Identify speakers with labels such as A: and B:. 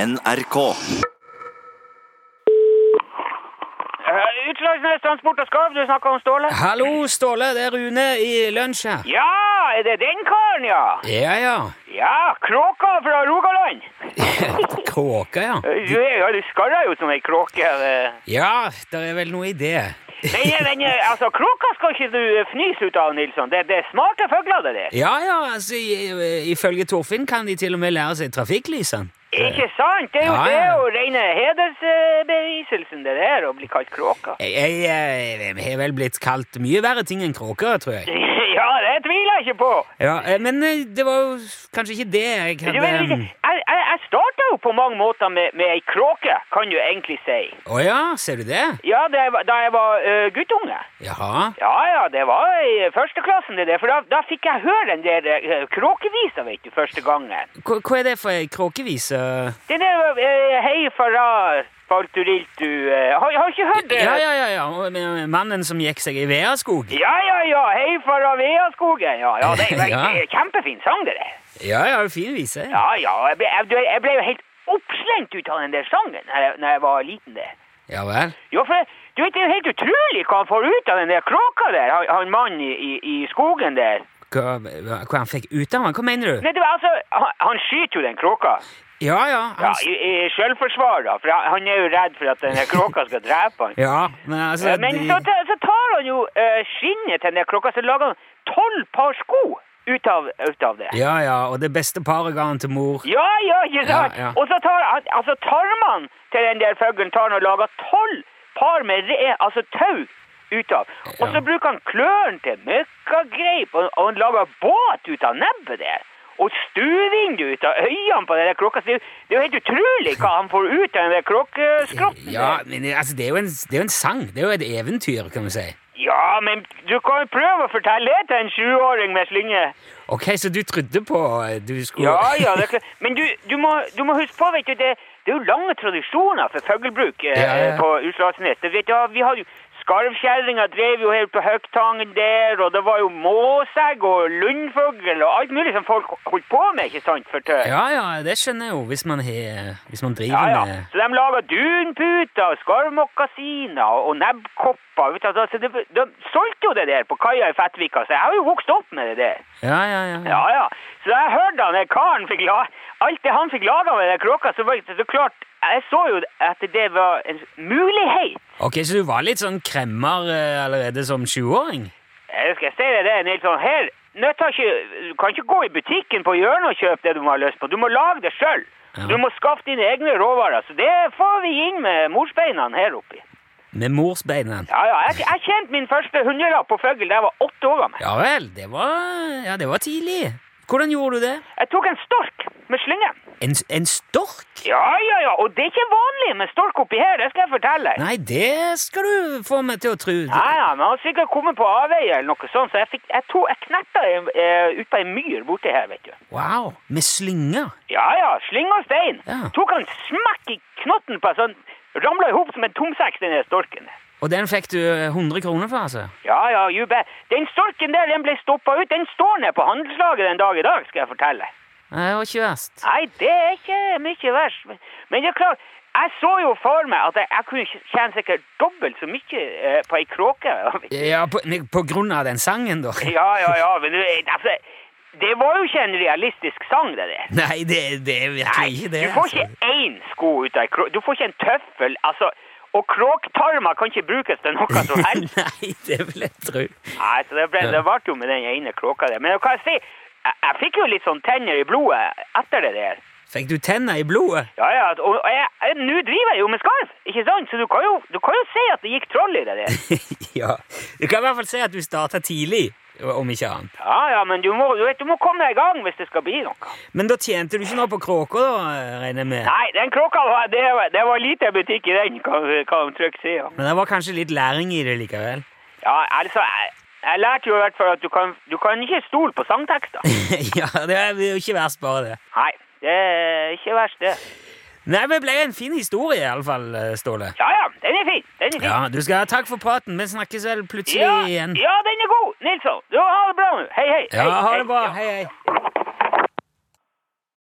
A: NRK.
B: Eh, Utslagsnes Transport og Skarv, du snakker om Ståle?
C: Hallo, Ståle. Det er Rune i lunsj her.
B: Ja, er det den karen, ja?
C: Ja, ja.
B: Ja, kråka fra Rogaland.
C: Kråka, ja.
B: Eh, Du, er- ja, du skarrer jo som ei kråke. eh.
C: Ja, det er vel noe i det.
B: Nei, den, eh, altså, kråka skal ikke du eh, fnyse ut av, Nilsson. Det, det er smarte fugler, det der.
C: Ja, ja, altså, i- ifølge Torfinn kan de til og med lære seg trafikklysene.
B: Ikke sant? Det er jo
C: Ja, ja.
B: det å regne hedersbeviselsen, det der, å bli kalt kråka.
C: Jeg, jeg, eh, jeg har vel blitt kalt mye verre ting enn kråker, tror jeg.
B: Ja, det tviler jeg ikke på.
C: Ja, eh, Men eh, det var jo kanskje ikke det jeg
B: Du, vet
C: hadde
B: ikke,
C: um,
B: jeg jeg, jeg starta jo på mange måter med, med ei kråke, kan du egentlig si.
C: Å ja, ser du det?
B: Ja, da jeg var, da jeg var eh, guttunge.
C: Jaha.
B: Ja, ja, det var i førsteklassen det der, for da, da fikk jeg høre den der eh, kråkevisa, vet du, første gangen.
C: Hva, hva er det for ei kråkevise?
B: Den der eh, hei fara, falturiltu, eh, har, har ikke hørt det?
C: Ja, ja, ja, ja. og, eh, Mannen som gikk seg i Veaskog?
B: Ja, ja, ja, hei fara Veaskogen, ja, ja, det, det,
C: Ja.
B: det er kjempefin sang det der.
C: Ja, ja, fin vise.
B: Ja, ja, jeg ble, jeg, du, jeg ble jo helt oppslengt ut av den der sangen når jeg, når jeg var liten det.
C: Ja vel.
B: Jo, for du vet, det er jo helt utrolig hva han får ut av den der kråka der, han, han mannen i, i, i skogen der.
C: Hva, hva hva han fikk ut av den? Hva mener du?
B: Nei, det var altså, han, han skyter jo den kråka.
C: Ja, ja.
B: Ja,
C: Han,
B: i, i selvforsvar, da. For han- han er jo redd for at denne kråka skal drepe han. Eh,
C: ja men altså
B: Men
C: de-
B: så, ta- så tar han jo eh, skinnet til denne kråka, så lager han tolv par sko ut av, ut av det.
C: Ja, ja, og det beste paret ga han til mor.
B: Ja, ja, ikke sant?
C: Ja, ja.
B: Og så tar han, altså tarmene til den der fuglen tar han og lager tolv par med re, altså tau ut av. Og så
C: Ja.
B: bruker han klørne til møkkagreip, og, og han lager båt ut av nebbet der. Og stuevindu ut av øynene på den der kråka. Så det, er jo- det er jo helt utrolig hva han får ut av den der kråkeskrotten.
C: Ja,
B: der.
C: men det- altså, det er, jo en, det er jo en sang. Det er jo et eventyr, kan vi si.
B: ja, men du kan jo prøve å fortelle det til en sjuåring med slynge.
C: Ok, så du trodde på eh, du skulle
B: Ja, ja, det er klart. Men du, du, må, du må huske på, vet du, det, det er jo lange tradisjoner for fuglebruk eh,
C: Ja, ja, ja.
B: på Utslagsnes. Du vet, ja, vi har jo Skarvkjerringa drev jo helt på Høgtangen der, og det var jo måsegg og lundfugl og alt mulig som folk holdt på med, ikke sant, for tøy.
C: ja, ja, det skjønner jeg jo, hvis man, har- hvis man
B: Ja,
C: driver
B: ja.
C: med
B: Så de lager dunputer og skarvmokkasiner og nebbkopper. Vet du, altså, de, de solgte jo det der på kaia i Fettvika, så jeg har jo vokst opp med det der.
C: Ja, ja, ja.
B: Ja, ja. Så da jeg hørte han, den karen fikk la... Alt det han fikk laga med den kråka, så var det så klart Jeg så jo at det var en mulighet.
C: Ok, så du var litt sånn kremmer eh, allerede som 20-åring?
B: Jeg Eh, skal si deg det, Nilsson. Her nødt har ikke, du kan ikke gå i butikken på hjørnet og kjøpe det du har lyst på. Du må lage det sjøl.
C: Ja.
B: Du må skaffe dine egne råvarer. Så det får vi inn med morsbeina her oppi.
C: Med morsbeina?
B: Ja, ja. Jeg, jeg tjente min første hundrelapp på fugl da jeg var åtte år gammel.
C: Ja vel, det var, ja, det var tidlig. Hvordan gjorde du det?
B: Jeg tok en stork med slynge.
C: En, en stork?
B: Ja, ja, ja. Og det er ikke vanlig med stork oppi her, det skal jeg fortelle deg.
C: Nei, det skal du få meg til å tro.
B: Ja, ja, men han har sikkert kommet på avveie eller noe sånt, så jeg, fikk, jeg, to, jeg knetta uh, ut på en myr borte her, vet du.
C: Wow, med slynger.
B: Ja, ja, slyng og stein.
C: Ja.
B: Tok han smekk i knotten på en sånn, ramla ihop som en tomsekk, den der storken.
C: Og den fikk du 100 kroner for, altså?
B: Ja, ja, you bet. Den storken der, den ble stoppa ut. Den står ned på handelslaget den dag i dag, skal jeg fortelle.
C: Nei, det var ikke verst.
B: Nei, det er ikke mye verst. Men, men det er klart, jeg så jo for meg at jeg, jeg kunne tjene sikkert dobbelt så mye eh, på ei kråke.
C: Ja, på, nei, på grunn av den sangen, da.
B: Ja, ja, ja, men du, altså, det var jo ikke en realistisk sang, det der.
C: Nei, det, det er
B: Nei,
C: virkelig ikke det.
B: du får
C: altså.
B: ikke én sko ut av ei krok... Du får ikke en tøffel, altså. Og kråktarmer kan ikke brukes til noe som helst.
C: Nei, det vil jeg tro.
B: Nei, så det ble, det ble jo med den ene kråka der. Men hva jeg si, jeg, jeg fikk jo litt sånn tenner i blodet etter det der.
C: Fikk du tenner i blodet?
B: Ja, ja, og, og jeg, jeg, nå driver jeg jo med skarv, ikke sant? Så du kan jo, du kan jo si at det gikk troll i det der.
C: ja. Du kan i hvert fall si at du starta tidlig, om ikke annet.
B: Ja, ja, men du må, du vet, du må komme deg i gang hvis det skal bli noe.
C: Men da tjente du ikke noe på kråka, da, regner jeg med?
B: Nei, den kråka var, det, var- det var lite butikk i den, kan, kan de trygt si. Ja.
C: Men det var kanskje litt læring i det likevel?
B: Ja, altså, jeg, jeg lærte jo i hvert fall at du kan, du kan ikke stole på sangtekster.
C: ja, det er jo ikke verst, bare det.
B: Nei, det er ikke verst det.
C: Nei, men det ble en fin historie, iallfall, eh, Ståle.
B: Ja, ja, den er fin, den er fin.
C: Ja, du skal ha takk for praten. Vi snakkes vel plutselig
B: ja,
C: igjen.
B: ja, den er god, Nilsson. Du, ha det bra nå. Hei, hei.
C: Ja, ha det bra. Hei, hei.
B: ja.